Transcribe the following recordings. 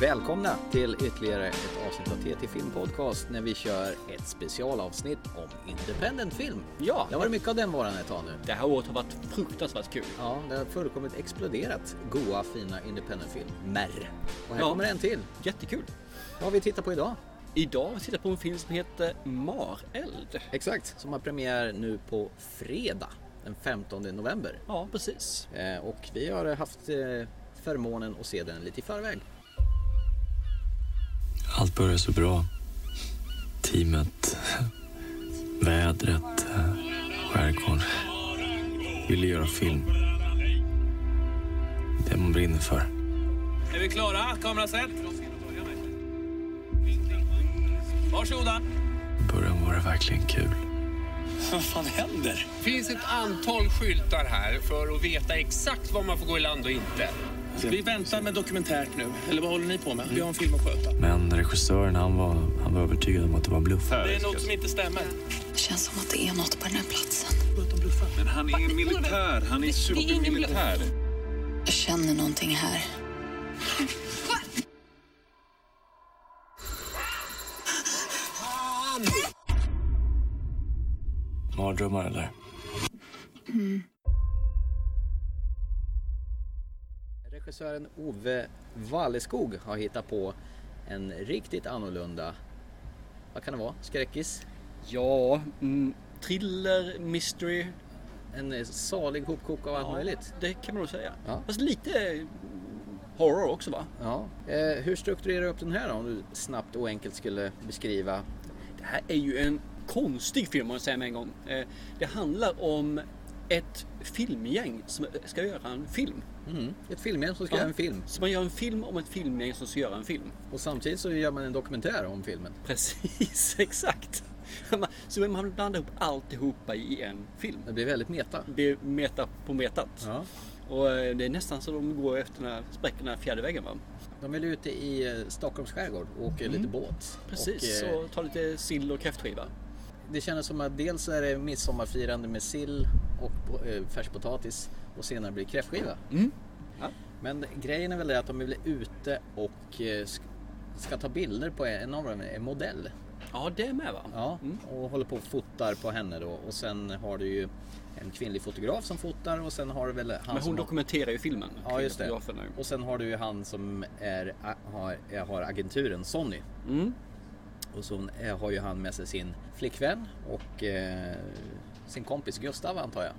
Välkomna till ytterligare ett avsnitt av TT Film Podcast när vi kör ett specialavsnitt om independent film. Ja. Det har varit mycket av den varan ett tag nu. Det här året har varit fruktansvärt kul. Ja, det har fullkomligt exploderat goa fina independent filmer. Och här Ja. kommer en till. Jättekul. Vad har vi tittat på idag? Idag har vi tittat på en film som heter Mareld. Exakt. Som har premiär nu på fredag den 15 november. Ja, precis. Eh, Och vi har haft eh, förmånen att se den lite i förväg. Allt började så bra. Teamet, vädret, skärgården. Ville göra film. Det man brinner för. Är vi klara? Kamera set. Varsågoda. I början var det verkligen kul. finns ett antal skyltar här för att veta exakt var man får gå i land och inte. Vi väntar med dokumentärt nu. Eller vad håller ni på med? Vi har en film att sköta. Men regissören han var, han var övertygad om att det var en bluff. Det är något som inte stämmer. Det känns som att det är något på den här platsen. Men han är en militär. Han är supermilitär. Jag känner någonting här. Mardrömmar eller? Regissören Ove Walleskog har hittat på en riktigt annorlunda, vad kan det vara, skräckis? Ja, mm, thriller, mystery. En eh, salig hopkok av allt möjligt. Det kan man nog säga. Ja. Fast lite eh, horror också va? Ja. Eh, hur strukturerar du upp den här då, om du snabbt och enkelt skulle beskriva? Det här är ju en konstig film om jag säger med en gång. Eh, Det handlar om ett filmgäng som ska göra en film. Mm. Ett filmgäng som ska Ja. göra en film Så man gör en film om ett filmgäng som ska göra en film. och samtidigt så gör man en dokumentär om filmen. Precis, exakt. Så man blandar ihop alltihopa i en film. Det blir väldigt meta. Det är meta på metat. Ja. Och eh, det är nästan så de går efter den här, spräcker den här fjärde väggen va? De är ute i eh, Stockholms skärgård och åker lite båt. Mm. Precis, Och, eh, och tar lite sill och kräftskiva. Det kändes som att dels är det midsommarfirande med sill och po- eh, färspotatis och senare blir det kräftskiva. Mm. Ja. Men grejen är väl det att de är väl ute och eh, sk- ska ta bilder på en av dem, en modell. Ja, det med va? Ja, och håller på och fotar på henne då. Och sen har du ju en kvinnlig fotograf som fotar och sen har du väl han Men som hon dokumenterar ju filmen. Ja, just det. kvinnofotografen är ju. Och sen har du ju han som är, har, har agenturen Sonny. Mm. Och så eh, har ju han med sig sin flickvän och eh, sin kompis Gustav antar jag.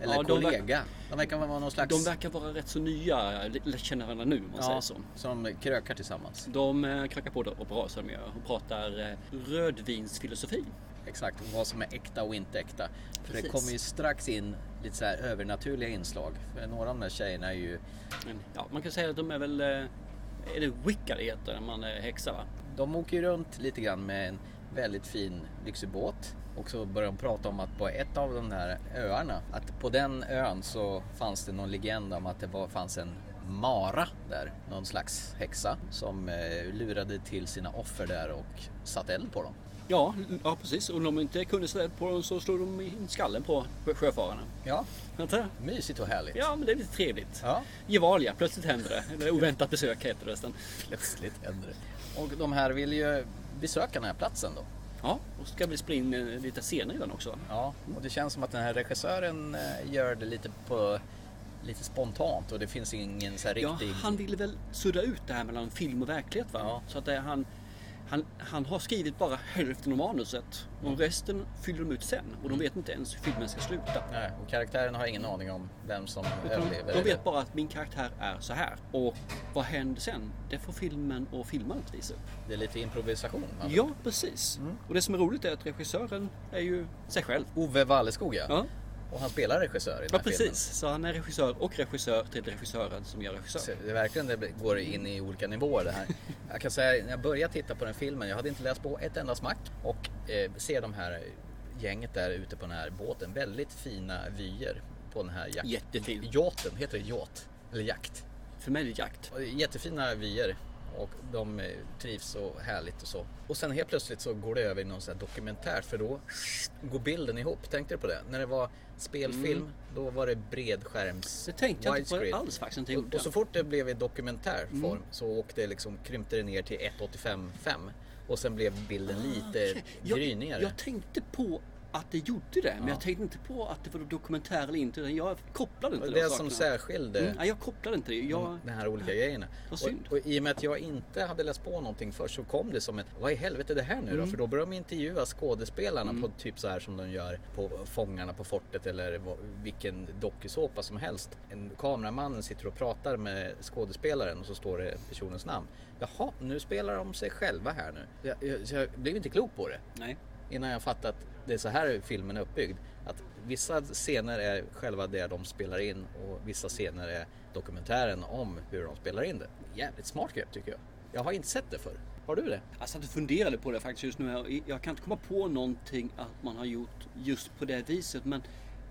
Eller Ja, de verk- kollega. de verkar vara någon slags... De verkar vara rätt så nya, lätt känna varandra nu om man säger ja, så. som krökar tillsammans. De eh, knackar på det och bra som de gör och pratar eh, rödvinsfilosofi. Exakt, och vad som är äkta och inte äkta. För det Precis. kommer ju strax in lite så här övernaturliga inslag. För några av de här tjejerna är ju... Men, ja, man kan säga att de är väl... eh, Är det Wicca det heter när man är häxa va? De åker ju runt lite grann med en väldigt fin lyxig båt. Och så börjar de prata om att på ett av de här öarna, att på den ön så fanns det någon legend om att det var, fanns en mara där, någon slags häxa som eh, lurade till sina offer där och satte eld på dem. Ja, ja precis. Och om de inte kunde ställa på dem så slog de in skallen på sjö- sjöfararna. Ja, Vänta. mysigt och härligt. Ja, men det är lite trevligt. Ja. Gevalia, plötsligt händer det. Eller oväntat besök heter det resten. Plötsligt händer det. Och de här vill ju besöka den här platsen då. Ja, och så ska vi spela in eh, lite scener i den också. va? Ja, och det känns som att den här regissören eh, gör det lite på lite spontant och det finns ingen så här Ja, riktig... han ville väl sudda ut det här mellan film och verklighet va? Ja. Så att det, han, han, han har skrivit bara hälften av manuset och resten fyller de ut sen. Och Mm. de vet inte ens hur filmen ska sluta. Nej, och karaktären har ingen aning om vem som Utan överlever. de vet bara att min karaktär är så här. Och vad händer sen? Det får filmen och filmaren visa upp. Det är lite improvisation. man vet. Ja, precis. Mm. Och det som är roligt är att regissören är ju sig själv. Ove Walleskog ja. Ja, Och han spelar regissör i den ja här precis. Så han är regissör och regissör till regissören som gör regissör. filmen. Så det är verkligen det går in i olika nivåer det här. Jag kan säga när jag började titta på den filmen, jag hade inte läst på ett enda smack. Och eh, se de här gänget där ute på den här båten. Väldigt fina vyer på den här jakt... Jättefin. Yachten, heter det yacht? Eller jakt? För mig är det jakt. Och det är Jättefina vyer. och de eh, trivs så härligt och så. Och sen helt plötsligt så går det över i någon sån här dokumentär för då går bilden ihop. Tänkte du på det? När det var spelfilm, då var det bredskärms Mm. Det tänkte jag inte på widescreen. alls Mm. faktiskt, inte gjort Och, och så det. fort det blev i dokumentär form så åkte liksom, krympte det ner till 1,85 5 och sen blev bilden lite Ah, Jag, grynigare. jag tänkte på att det gjorde det, men jag tänkte inte på att det var dokumentär eller inte. utan Jag kopplade inte Det de var det som Mm. sakerna. särskilde Mm, nej, jag kopplade inte det. Jag, de här olika grejerna. Vad synd. Och, och i och med att jag inte hade läst på någonting först så kom det som ett, vad i helvete är det här nu då? Mm. För då började de intervjua skådespelarna på typ så här som de gör på Fångarna på fortet eller vad- vilken dokusåpa som helst. En kameramannen sitter och pratar med skådespelaren och så står det personens namn. Jaha, nu spelar de sig själva här nu. Jag, jag, så jag blev inte klok på det nej. innan jag fattat att det är så här filmen är uppbyggd. Att vissa scener är själva det de spelar in och vissa scener är dokumentären om hur de spelar in det. Jävligt smart grepp tycker jag. Jag har inte sett det förr. Har du det? Alltså att du funderade på det faktiskt just nu. här. Jag kan inte komma på någonting att man har gjort just på det viset. Men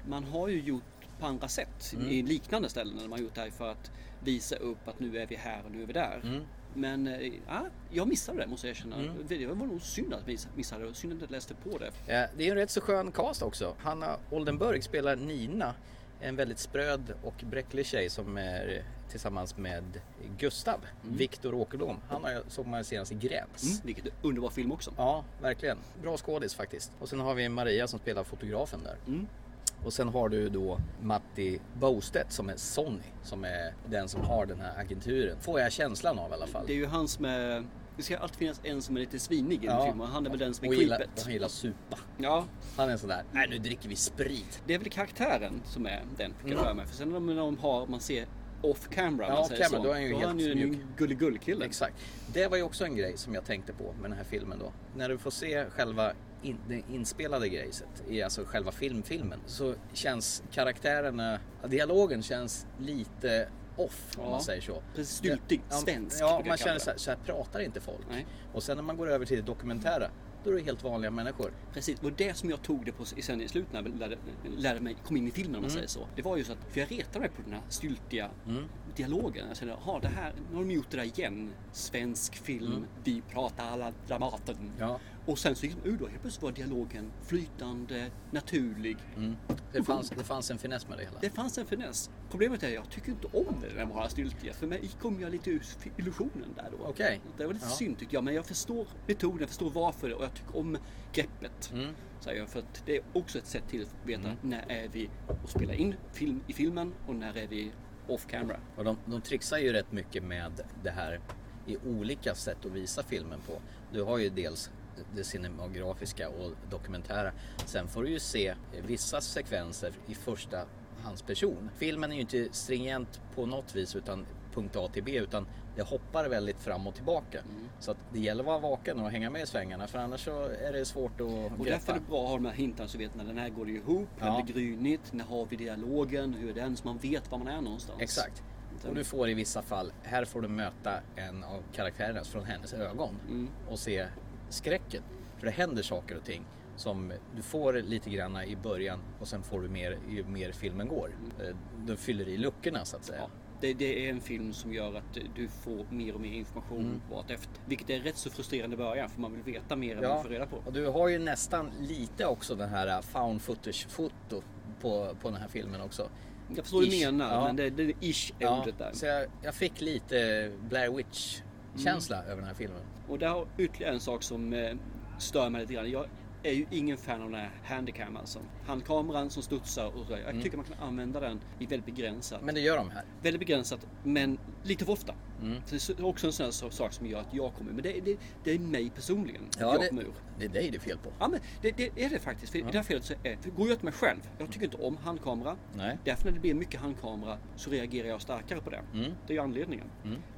man har ju gjort på andra sätt i Mm. liknande ställen. När man har gjort det här för att visa upp att nu är vi här och nu är vi där. Mm. Men eh, ja, jag missade det måste jag erkänna. Det var nog synd att vi missade det. och Synd att jag inte läste på det. Eh, Det är en rätt så skön cast också. Hanna Oldenburg spelar Nina, en väldigt spröd och bräcklig tjej som är tillsammans med Gustav, Viktor Åkerblom. Han har jag- såg man senast i Gräns. Vilket är en underbar film också. Ja, verkligen. Bra skådis faktiskt. Och sen har vi Maria som spelar fotografen där. Mm. Och sen har du då Matti Bostedt som är Sonny, som är den som har den här agenturen. Får jag känslan av i alla fall. Det är ju han som är... Det ska alltid finnas en som är lite svinig i en film och han är väl den som är och gillar, creepet. Han gillar supa. Ja, Han är sån där, nej nu dricker vi sprit. Det är väl karaktären som är den, fick jag för mig. För sen när de- när de har, man ser off camera, om man Mm. off säger camera, så, då är han ju helt mjuk. en gulligull-kille. Exakt. Det var ju också en grej som jag tänkte på med den här filmen då. När du får se själva in, det inspelade grejset, i alltså själva filmfilmen, så känns karaktärerna, dialogen känns lite off om Ja. man säger så. Precis, styltig, Ja, svensk, Ja, brukar man jag kalla känner det. så här, så här pratar inte folk. Nej. Och sen när man går över till det dokumentära, då är det helt vanliga människor. Precis, och det som jag tog det på i- sen i slutet när jag lärde, lärde mig, kom in i filmen Mm. om man säger så. Det var just att, för jag retade mig på den här styltiga dialogen. Jag kände, jaha, det här, nu har de gjort det där igen. Svensk film, vi pratar alla Dramaten. Mm. Ja. Och sen så gick de ur då, helt plötsligt var dialogen flytande, naturlig. Det fanns, det fanns en finess med det hela. Det fanns en finess. Problemet är att jag tycker inte om det där med Harald Styltje. För mig kom jag lite ur illusionen där då. Okej. Det var lite Ja. synd tycker jag. Men jag förstår metoden, jag förstår varför och jag tycker om greppet. Mm. Säger jag, för att det är också ett sätt till att veta när är vi och spelar in film i filmen och när är vi off camera. Och de, de trixar ju rätt mycket med det här i olika sätt att visa filmen på. Du har ju dels det cinematografiska och dokumentära. Sen får du ju se vissa sekvenser i första hans person. Filmen är ju inte stringent på något vis utan punkt A till B utan det hoppar väldigt fram och tillbaka. Mm. Så att det gäller att vara vaken och hänga med i svängarna för annars så är det svårt att Och därför är det bra att ha de här hintarna så vet när den här går ihop, när Ja. det blir grynigt, när har vi dialogen, hur är den? Så man vet var man är någonstans. Exakt. Och du får i vissa fall, här får du möta en av karaktärerna från hennes ögon Mm. och se skräcken. För det händer saker och ting som du får lite grann i början och sen får du mer ju mer filmen går. Eh, Du fyller i luckorna så att säga. Ja, det, det är en film som gör att du får mer och mer information Mm. vart efter. Vilket är rätt så frustrerande i början för man vill veta mer än man får reda på. och du har ju nästan lite också den här eh, found footage-foto på, på den här filmen också. Jag förstår vad du Ish. menar, Ja. men det, det ish är Ja, ordet där. så jag, jag fick lite Blair Witch-känsla Mm. över den här filmen. Och där har ytterligare en sak som eh, stör mig lite grann. Jag är ju ingen fan av den här handicam alltså. Handkameran som studsar och så. Jag Mm. tycker man kan använda den i väldigt begränsat. Men det gör de här. Väldigt begränsat, men lite för ofta. Mm. Så det är också en sån här so- sak som gör att jag kommer Men det, det, det är mig personligen jag kommer det, ur. det är dig det är fel på. Ja, men det, det är det faktiskt. För I det här fallet så är, för går jag till mig själv. Jag tycker inte om handkamera. Nej. Därför när det blir mycket handkamera så reagerar jag starkare på det. Mm. Det är ju anledningen.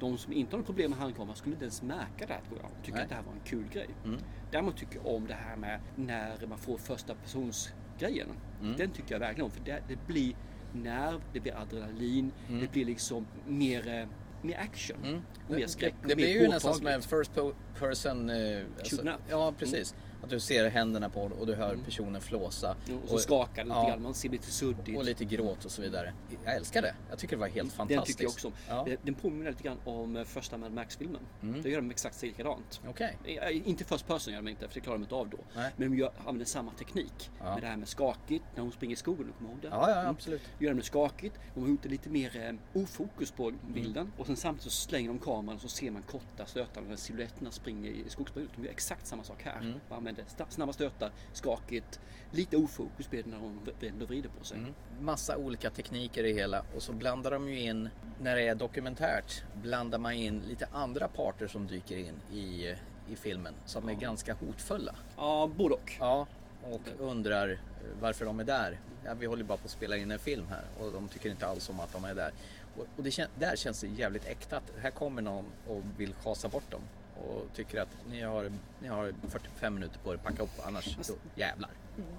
De som inte har något problem med handkamera skulle inte ens märka det här tror jag. De Nej. tycker Mm. att det här var en kul grej. Däremot tycker jag om det här med när man får första persons grejen. Mm. Den tycker jag verkligen om. För det, det blir nerv, det blir adrenalin, Mm. det blir liksom mer, eh, mer action. Och mer skräck. Det, det mer blir ju nästan påtagligt. Mm. som en first po- person... eh, alltså- Shoot 'em up. ja, precis. Att du ser händerna på och du hör personen flåsa. Mm. Och så skakar det lite ja, grann, man ser lite suddigt. Och lite gråt och så vidare. Jag älskar det. Jag tycker det var helt Den fantastiskt. tycker jag också om. Ja. Mm. Eh, Den påminner lite grann om eh, första Mad Max-filmen. Då gör de exakt likadant. Okej. Eh, Inte first person gör de inte, för det klarar de inte av då. Nej. Men de gör, använder samma teknik. Med det här med skakigt, när hon springer i skogen, kommer du ihåg det? Ja, ja, absolut. Mm. Gör de det skakigt, de har gjort det lite mer eh, ofokus på Mm. bilden. Och sen samtidigt så slänger de kameran och så ser man korta stötar när silhuetterna springer i skogsbrynet. De gör exakt samma sak här. Mm. Man använder sta- snabba stötar, skakigt, lite ofokus blir det när hon vänder och vrider på sig. Mm. Massa olika tekniker i hela och så blandar de ju in, när det är dokumentärt, blandar man in lite andra parter som dyker in i, i filmen som är ganska hotfulla. Ja, både och. Ja, och undrar eh, varför de är där. Ja, vi håller bara på att spela in en film här och de tycker inte alls om att de är där. Och, och det kän- där känns det jävligt äkta. att Här kommer någon och vill schasa bort dem och tycker att ni har, ni har 45 minuter på er, packa upp annars då jävlar.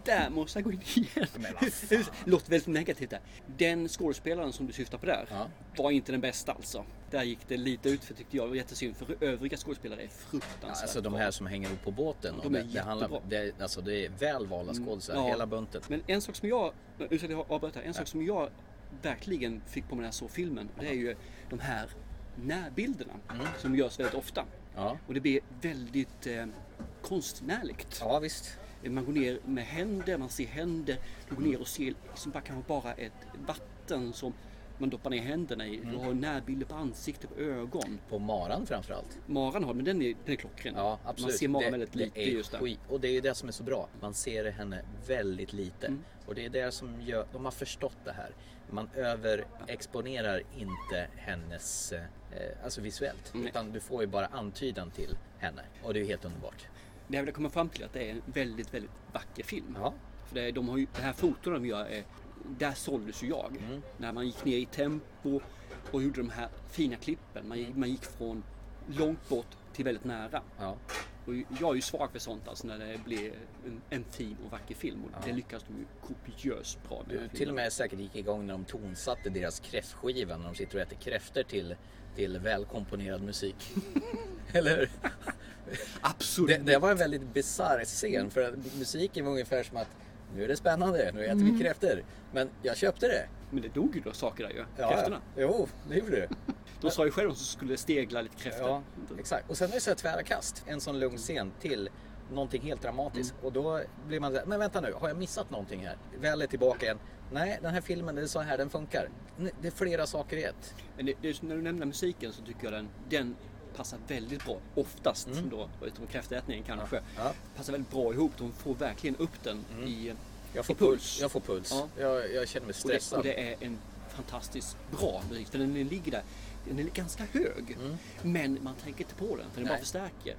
Där måste jag gå in igen. Men vad Låter väldigt negativt där. Den skådespelaren som du syftar på där Ja. var inte den bästa alltså. Där gick det lite ut för tyckte jag. Det var jättesynd för övriga skådespelare är Ja, fruktansvärt alltså de bra. här som hänger upp på båten. De och det, är det, handlar, jättebra. Mm. det, alltså, det är väl valda skådisar, Ja. hela bunten. Men en sak som jag, ursäkta jag avbryter, här. en sak som jag verkligen fick på mig när jag såg filmen. Det är ju de här närbilderna som görs väldigt ofta. Mm. Ja. Och det blir väldigt eh, konstnärligt. Ja visst. Man går ner med händer, man ser händer. Du går ner och ser liksom bara, kanske bara ett vatten som man doppar ner händerna i. Mm. Du har närbilder på ansikte, på ögon. På maran framförallt. Maran har men den är, den är klockren. Ja, absolut. Man ser maran Det- väldigt det lite är just där. skit- Och det är ju det som är så bra. Man ser henne väldigt lite. Mm. Och det är det som gör, de har förstått det här. Man överexponerar inte hennes, eh, alltså visuellt. Nej. Utan du får ju bara antydan till henne. Och det är ju helt underbart. Det jag vill komma fram till är att det är en väldigt, väldigt vacker film. Ja. För det, är- de har ju, det här foton de gör, är, där såldes ju jag. Mm. När man gick ner i tempo och gjorde de här fina klippen. Mm. Man, gick- man gick från långt bort till väldigt nära. Ja. Och jag är ju svag för sånt alltså när det blir en, en fin och vacker film och det lyckas de ju kopiöst bra med. Du till och med säkert gick igång när de tonsatte deras kräftskiva när de sitter och äter kräftor till, till välkomponerad musik. Eller hur? Absolut! Det, det var en väldigt bisarr scen för att musiken var ungefär som att nu är det spännande, nu äter Mm. vi kräftor. Men jag köpte det. Men det dog ju då saker där ju. Kräftorna. Jo, det gjorde du. De sa ju själva att de skulle stegla lite kräftor. Ja, exakt. Och sen är det så här tvära kast. En sån lugn scen till någonting helt dramatiskt. Mm. Och då blir man så här, men vänta nu, har jag missat någonting här? Väl är tillbaka igen. Nej, den här filmen, det är så här den funkar. N- Det är flera saker i ett. Men det, det, är så- när du nämner musiken så tycker jag den, den passar väldigt bra. Oftast då, utom kräftätningen kanske. Mm. Ja. Mm. Passar väldigt bra ihop. De får verkligen upp den i, Jag får i puls. Jag får puls. Ja. Jag, jag känner mig Och det, stressad. och det är en fantastiskt bra musik. För den ligger där. Den är ganska hög. Men man tänker inte på den. För den bara Mm. Nej. förstärker.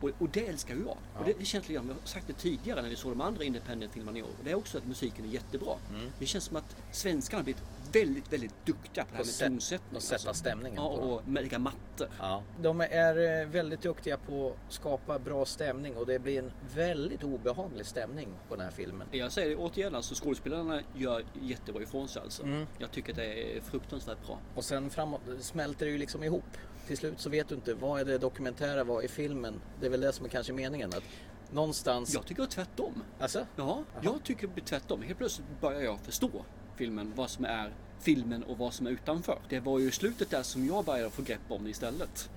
Och, och det älskar ju jag. Och det, det känns lite grann, jag har sagt det tidigare när vi såg de andra independent-filmerna i år. Och det är också att musiken är jättebra. Mm. Det känns som att svenskarna har blivit väldigt, väldigt duktiga på det här Och med sätt- tonsättning. och sätta stämningen Alltså. Ja, på dem. och lägga mattor. Ja. De är eh, väldigt duktiga på att skapa bra stämning och det blir en väldigt obehaglig stämning på den här filmen. Jag säger det återigen, alltså, skådespelarna gör jättebra ifrån sig. Alltså. Mm. Jag tycker att det är fruktansvärt bra. Och sen framåt smälter det ju liksom ihop. Till slut så vet du inte vad är det dokumentära, vad är filmen? Det är väl det som är kanske meningen att någonstans... Jag tycker tvärtom. Alltså? Ja, jag tycker det blir tvärtom. Helt plötsligt börjar jag förstå filmen, vad som är filmen och vad som är utanför. Det var ju slutet där som jag började få grepp om det istället.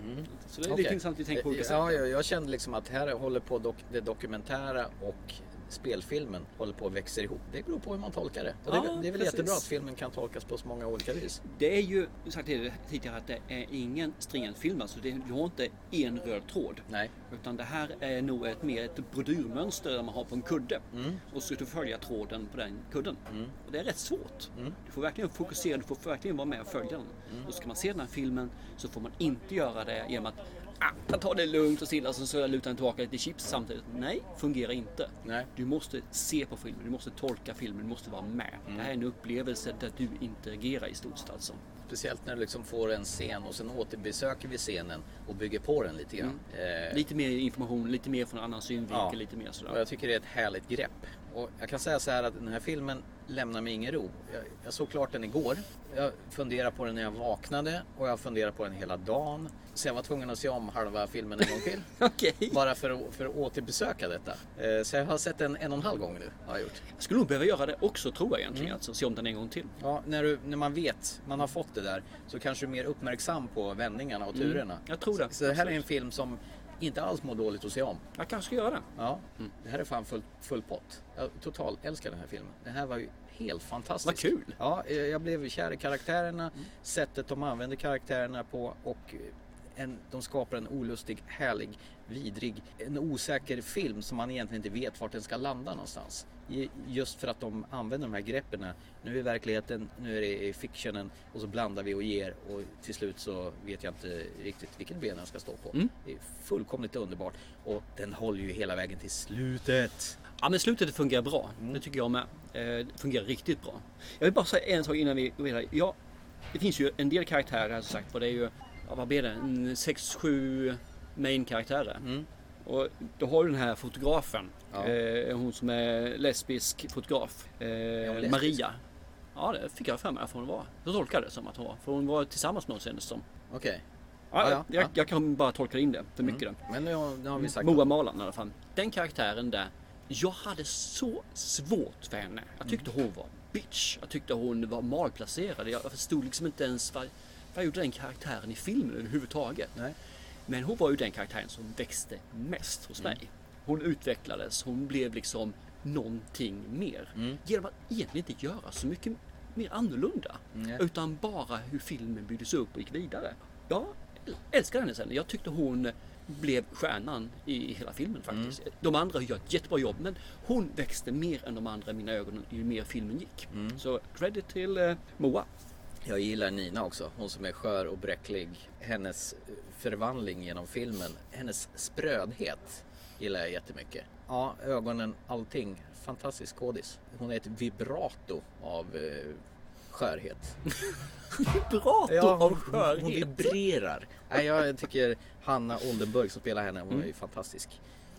Så det Mm. Okej. är Eh, lite intressant att vi tänker på olika sätt. ja, jag, jag kände liksom att här håller på dok- det dokumentära och spelfilmen håller på att växa ihop. Det beror på hur man tolkar det. Och det, är Ja, väl- det är väl precis. jättebra att filmen kan tolkas på så många olika vis. Det är ju, jag har sagt det tidigare, att det är ingen stringent film. Alltså det, du har inte en röd tråd. Nej. Utan det här är nog ett, mer ett brodyrmönster där man har på en kudde. Mm. Och så ska du följa tråden på den kudden. Och det är rätt svårt. Mm. Du får verkligen fokusera, du får verkligen vara med och följa den. Och ska man se den här filmen så får man inte göra det genom att ah, jag tar det lugnt och stilla så, så jag lutar jag tillbaka lite chips samtidigt. Nej, fungerar inte. Nej. Du måste se på Mm. filmen, du måste tolka filmen, du måste vara med. Det här är en upplevelse där du interagerar i stort sett alltså. Speciellt när du liksom får en scen och sen återbesöker vi scenen och bygger på den lite grann. Eh, Lite mer information, lite mer från en annan synvinkel, Ja. lite mer Eh, Och sådär. jag tycker det är ett härligt grepp. Och jag kan säga så här att den här filmen lämnar mig ingen ro. Jag, jag såg klart den igår. Jag funderade på den när jag vaknade och jag funderade på den hela dagen. Så jag var tvungen att se om halva filmen en gång till. Okej. Bara för att, för att återbesöka detta. Eh, Så jag har sett den en och en halv gång nu. Har jag gjort. Jag skulle nog behöva göra det också tror jag egentligen, Mm. alltså se om den en gång till. Ja, när, du, när man vet, man har fått det där, så kanske du är mer uppmärksam på vändningarna och turerna. jag tror det. Så det här är en Absolut. film som inte alls mår dåligt att se om. Jag kanske ska göra det. Ja, Mm. det här är fan full, full pott. Jag total älskar den här filmen. Den här var ju helt fantastisk. Vad kul! Ja, eh, jag blev kär i karaktärerna, sättet de använder karaktärerna på och eh, en, de skapar en olustig, härlig, vidrig, en osäker film som man egentligen inte vet vart den ska landa någonstans. I- Just för att de använder de här greppen. Nu är verkligheten, nu är det i fictionen och så blandar vi och ger och till slut så vet jag inte riktigt vilket ben jag ska stå på. Det är fullkomligt underbart och den håller ju hela vägen till slutet. Ja men slutet fungerar bra. Mm. Det tycker jag med. Eh, Det fungerar riktigt bra. Jag vill bara säga en sak innan vi går vidare. Ja, det finns ju en del karaktärer här som sagt. För det är ju, ja, vad blir det? En sex, sju main-karaktärer. Och då har du den här fotografen. Mm. Ja. Eh, hon som är lesbisk fotograf. Eh, lesbisk? Maria. Ja det fick jag för mig att hon var. Då tolkade jag det som att hon var. För hon var tillsammans med någon senast som. Okej, Ja, Ja, ja, Mm. jag, ja. jag kan bara tolka in det för mycket. Då. men nu har, nu har vi sagt Moa Malan i alla fall. Den karaktären där. Jag hade så svårt för henne. Jag Mm. tyckte hon var bitch. Jag tyckte hon var malplacerad. Jag jag förstod liksom inte ens vad, vad gjorde den karaktären i filmen överhuvudtaget. Nej. Men hon var ju den karaktären som växte mest Mm. hos mig. Hon utvecklades. Hon blev liksom någonting mer. Mm. Genom att egentligen inte göra så mycket mer annorlunda. Nej. Utan bara hur filmen byggdes upp och gick vidare. Jag älskar henne sen. Jag tyckte hon blev stjärnan i hela filmen Mm. faktiskt. De andra gör ett jättebra jobb men hon växte mer än de andra i mina ögon ju mer filmen gick. Mm. Så credit till eh, Moa. Jag gillar Nina också, hon som är skör och bräcklig. Hennes eh, förvandling genom filmen, hennes sprödhet gillar jag jättemycket. Ja, ögonen, allting. Fantastisk skådis. Hon är ett vibrato av eh, skörhet. Vibrato av hon, hon skörhet! vibrerar. Nej, jag tycker Hanna Oldenburg som spelar henne, hon är ju fantastisk.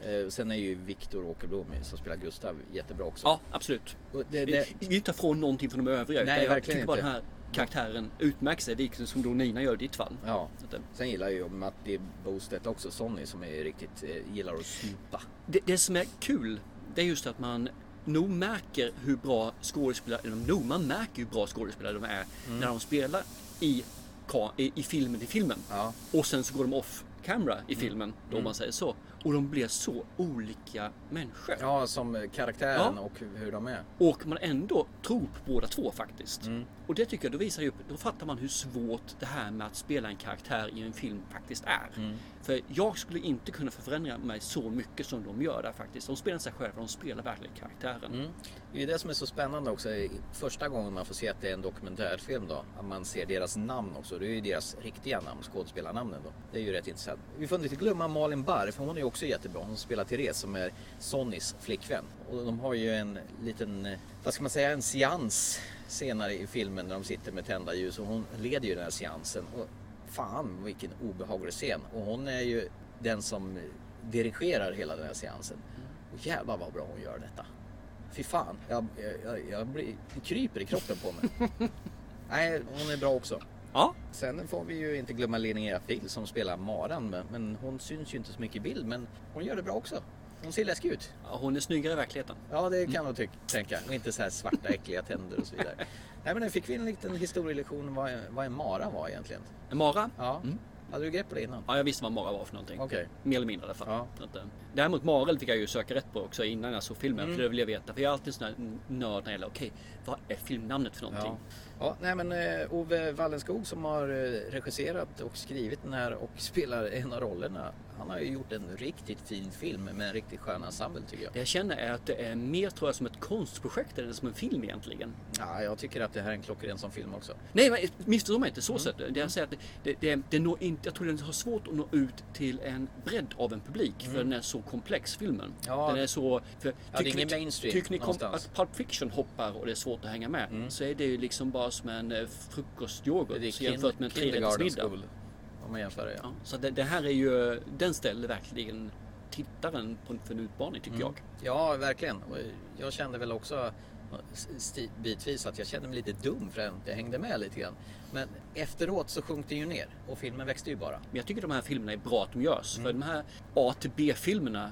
Eh, sen är ju Viktor Åkerblom som spelar Gustav jättebra också. Ja absolut. Och det, Vi det, vi inte från någonting från de Nej, övriga. utan jag verkligen tycker bara inte. den här karaktären utmärker sig liksom som då Nina gör i ditt fall. ja. Så att det- Sen gillar jag ju Matti Bostedt också, Sonny som är riktigt, eh, gillar att supa. Det, det som är kul det är just att man nog märker hur bra skådespelare, eller nog man märker hur bra skådespelare de är Mm. när de spelar i, ka- i, i filmen i filmen. Ja. Mm. Och sen så går de off camera i filmen, då om man säger så. Och de blir så olika människor. Ja, som eh, karaktären Ja. och hur de är. Och man ändå tror på båda två faktiskt. Mm. Och det tycker jag, då visar ju upp, då fattar man hur svårt det här med att spela en karaktär i en film faktiskt är. Mm. För jag skulle inte kunna förändra mig så mycket som de gör där faktiskt. De spelar inte sig själva, de spelar verkligen karaktären. Mm. Det är ju det som är så spännande också. Första gången man får se att det är en dokumentärfilm då. Att man ser deras namn också. Det är ju deras riktiga namn, skådespelarnamnen då. Det är ju rätt intressant. Vi får inte glömma Malin Barr, för hon är ju också jättebra. Hon spelar Therese som är Sonnys flickvän. Och de har ju en liten, eh, vad ska man säga, en seans senare i filmen när de sitter med tända ljus. Och hon leder ju den här seansen. Och fan vilken obehaglig scen. Och hon är ju den som eh, dirigerar hela den här seansen. Och jävlar vad bra hon gör detta. Fy fan, jag, jag, jag blir, det kryper i kroppen på mig. Nej, hon är bra också. Ja, Sen får vi ju inte glömma Linnea Fil som spelar Maran, men, men hon syns ju inte så mycket i bild, men hon gör det bra också. Hon ser läskig ut. hon är snyggare i verkligheten. Ja, det kan man tyck- tänka. Och inte så här svarta äckliga tänder och så vidare. Nej, men nu fick vi en liten historielektion om vad, vad en mara var egentligen. Mara? Ja, hade du grepp på det innan? Ja, jag visste vad Mara var för någonting. Okej. Mer eller mindre i alla fall. Ja. Så att, eh, Däremot Marel fick jag ju söka rätt på också innan jag såg filmen. Mm. För det vill jag veta. För jag är alltid en sån här nörd när det gäller, okej, vad är filmnamnet för någonting? Ja. Ja, nej men eh, Ove Wallenskog som har eh, regisserat och skrivit den här och spelar en av rollerna. Han har ju gjort en riktigt fin film med en riktigt skön ensemble tycker jag. Det jag känner är att det är mer tror jag som ett konstprojekt än som en film egentligen. Ja, jag tycker att det här är en klockren som film också. Nej, men missförstå mig Mm. inte så sett. Det jag säger att det, det, det, det når inte, jag tror den har svårt att nå ut till en bredd av en publik för den är så komplex filmen. Mm. Ja. Den är så... För, är ingen mainstream Tycker ni kom, någonstans. Mm. att Pulp Fiction hoppar och det är svårt att hänga med så är det ju liksom bara jämförs med en eh, frukostyoghurt Det är kin- jämfört med en kindergarten trerättersmiddag. school, Om man jämför det, ja. Ja, så det, det här är ju, den ställer verkligen tittaren på, för en utmaning tycker Mm. jag. Ja, verkligen. Och Jag kände väl också sti- bitvis att jag kände mig lite dum för att jag hängde med lite grann. Men efteråt så sjönk det ju ner och filmen växte ju bara. Men jag tycker de här filmerna är bra att de görs. För de här A till B-filmerna,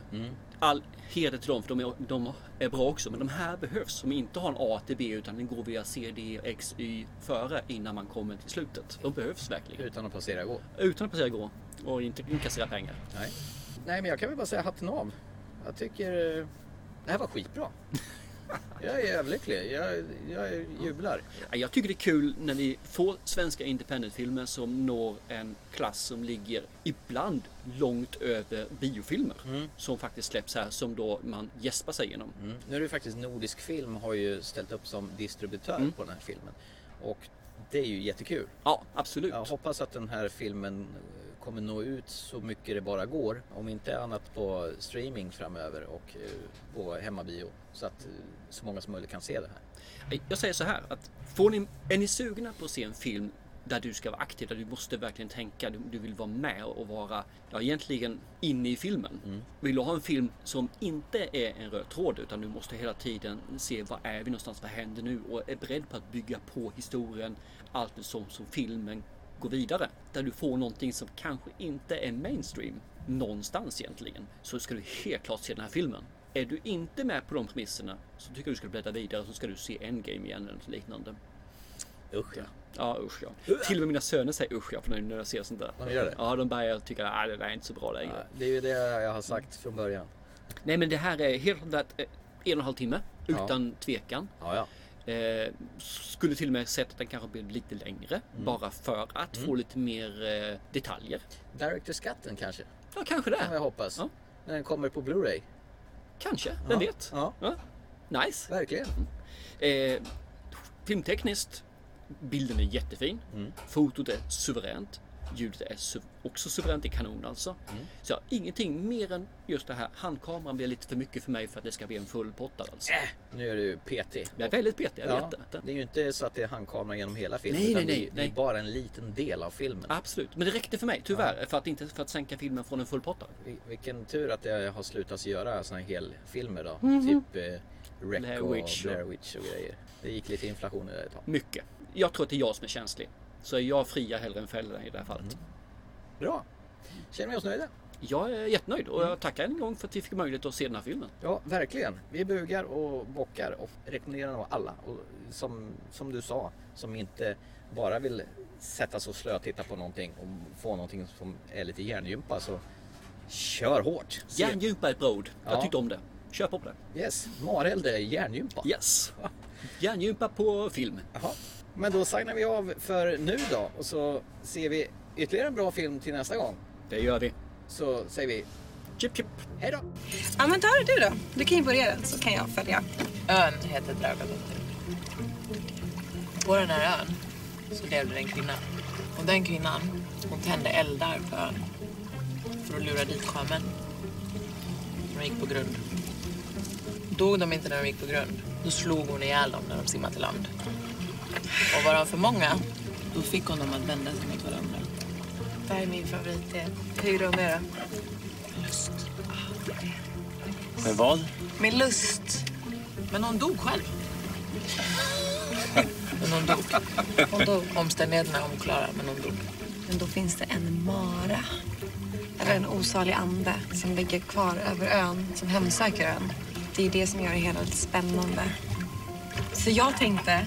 all heder till dem för de är, de är bra också. Men de här behövs som inte har en A till B utan den går via C, D, X, Y före innan man kommer till slutet. De behövs verkligen. Utan att passera gå. Utan att passera gå och inte inkassera pengar. Nej. Nej, men jag kan väl bara säga hatten av. Jag tycker eh, det här var skitbra. Jag är överlycklig. Jag, jag jublar. Ja, Jag tycker det är kul när vi får svenska independentfilmer som når en klass som ligger ibland långt över biofilmer som faktiskt släpps här som då man gäspar sig igenom. Mm. Nu är det ju faktiskt Nordisk Film har ju ställt upp som distributör på den här filmen. Och det är ju jättekul. Ja, absolut. Jag hoppas att den här filmen eh, kommer nå ut så mycket det bara går. Om inte annat på streaming framöver och eh, på hemmabio. Så att eh, så många som möjligt kan se det här. Jag säger så här att får ni, är ni sugna på att se en film där du ska vara aktiv, där du måste verkligen tänka, du, du vill vara med och vara ja, egentligen inne i filmen. Vill du ha en film som inte är en röd tråd utan du måste hela tiden se vad är vi någonstans, vad händer nu och är beredd på att bygga på historien allt som, som filmen går vidare. Där du får någonting som kanske inte är mainstream någonstans egentligen så ska du helt klart se den här filmen. Är du inte med på de premisserna så tycker jag du ska bläddra vidare så ska du se Endgame igen eller något liknande. Usch ja. Ja usch ja. Till och med mina söner säger usch ja för när de ser sånt där. De gör det? Ja de börjar tycka att "Ah, det där är inte så bra längre. Det är ju det jag har sagt från början. Nej men det här är helt klart att, eh, en och en halv timme Ja. utan tvekan. Ja, ja. Eh, skulle till och med sett att den kanske blir lite längre Mm. bara för att få lite mer eh, detaljer. Director's Cutten kanske? Ja kanske det. Kan jag hoppas. Ja. När den kommer på Blu-ray. Kanske, vem vet? Äh. Ja. Nice. Verkligen. Eh, filmtekniskt, bilden är jättefin. Mm. Fotot är suveränt. Ljudet är su- också suveränt, i kanon alltså. Mm. Så jag har ingenting mer än just det här. Handkameran blir lite för mycket för mig för att det ska bli en fullpottad alltså. Nu är det ju PT. Jag är väldigt petig, jag Ja, vet det. det är ju inte så att det är handkamera genom hela filmen. Nej, utan nej, det är- nej, Det nej. är bara en liten del av filmen. Absolut, men det räckte för mig tyvärr för att inte för att sänka filmen från en fullpottad. Vil- Vilken tur att jag har slutat göra såna här helfilmer då. Typ eh, Wreck Mhm. Blair och Witch och- Blair Witch och grejer. Det gick lite inflation i det ett tag. Mycket. Jag tror att det är jag som är känslig. Så jag friar hellre än fäller i det här fallet. Mm. Bra! Känner vi oss nöjda? Jag är jättenöjd och Mm. jag tackar en gång för att vi fick möjlighet att se den här filmen. Ja, verkligen. Vi bugar och bockar och rekommenderar nog alla. Och som, som du sa, som inte bara vill sätta sig och slötitta på någonting och få någonting som är lite hjärngympa så kör hårt! Se- Järngympa är ett bra ord. Jag Ja. tyckte om det. Köp upp det. Yes, Mareld är hjärngympa. Yes. Järngympa på film. Jaha. Men då signar vi av för nu då och så ser vi ytterligare en bra film till nästa gång. Det gör vi. Så säger vi Chip chip. hej då! Ja, men tar du då. Du kan ju börja den så kan jag följa. Ön heter Dragadotter. På den här ön så levde det en kvinna. Och den kvinnan, hon tände eldar på ön. För att lura dit sjömän. De gick på grund. Dog de inte när de gick på grund, då slog hon ihjäl dem när de simmade till land. Och var de för många, då fick hon dem att vända sig mot varandra. Det här är min favorit. Hur gjorde hon det då? Men vad? Med lust. Men hon dog själv. men hon dog. Och då, Omständigheterna är oklara, men hon dog. men då finns det en mara. Eller en osalig ande som ligger kvar över ön, som hemsöker ön. Det är det som gör det hela lite spännande. Så jag tänkte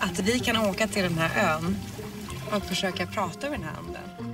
att vi kan åka till den här ön och försöka prata med den här anden.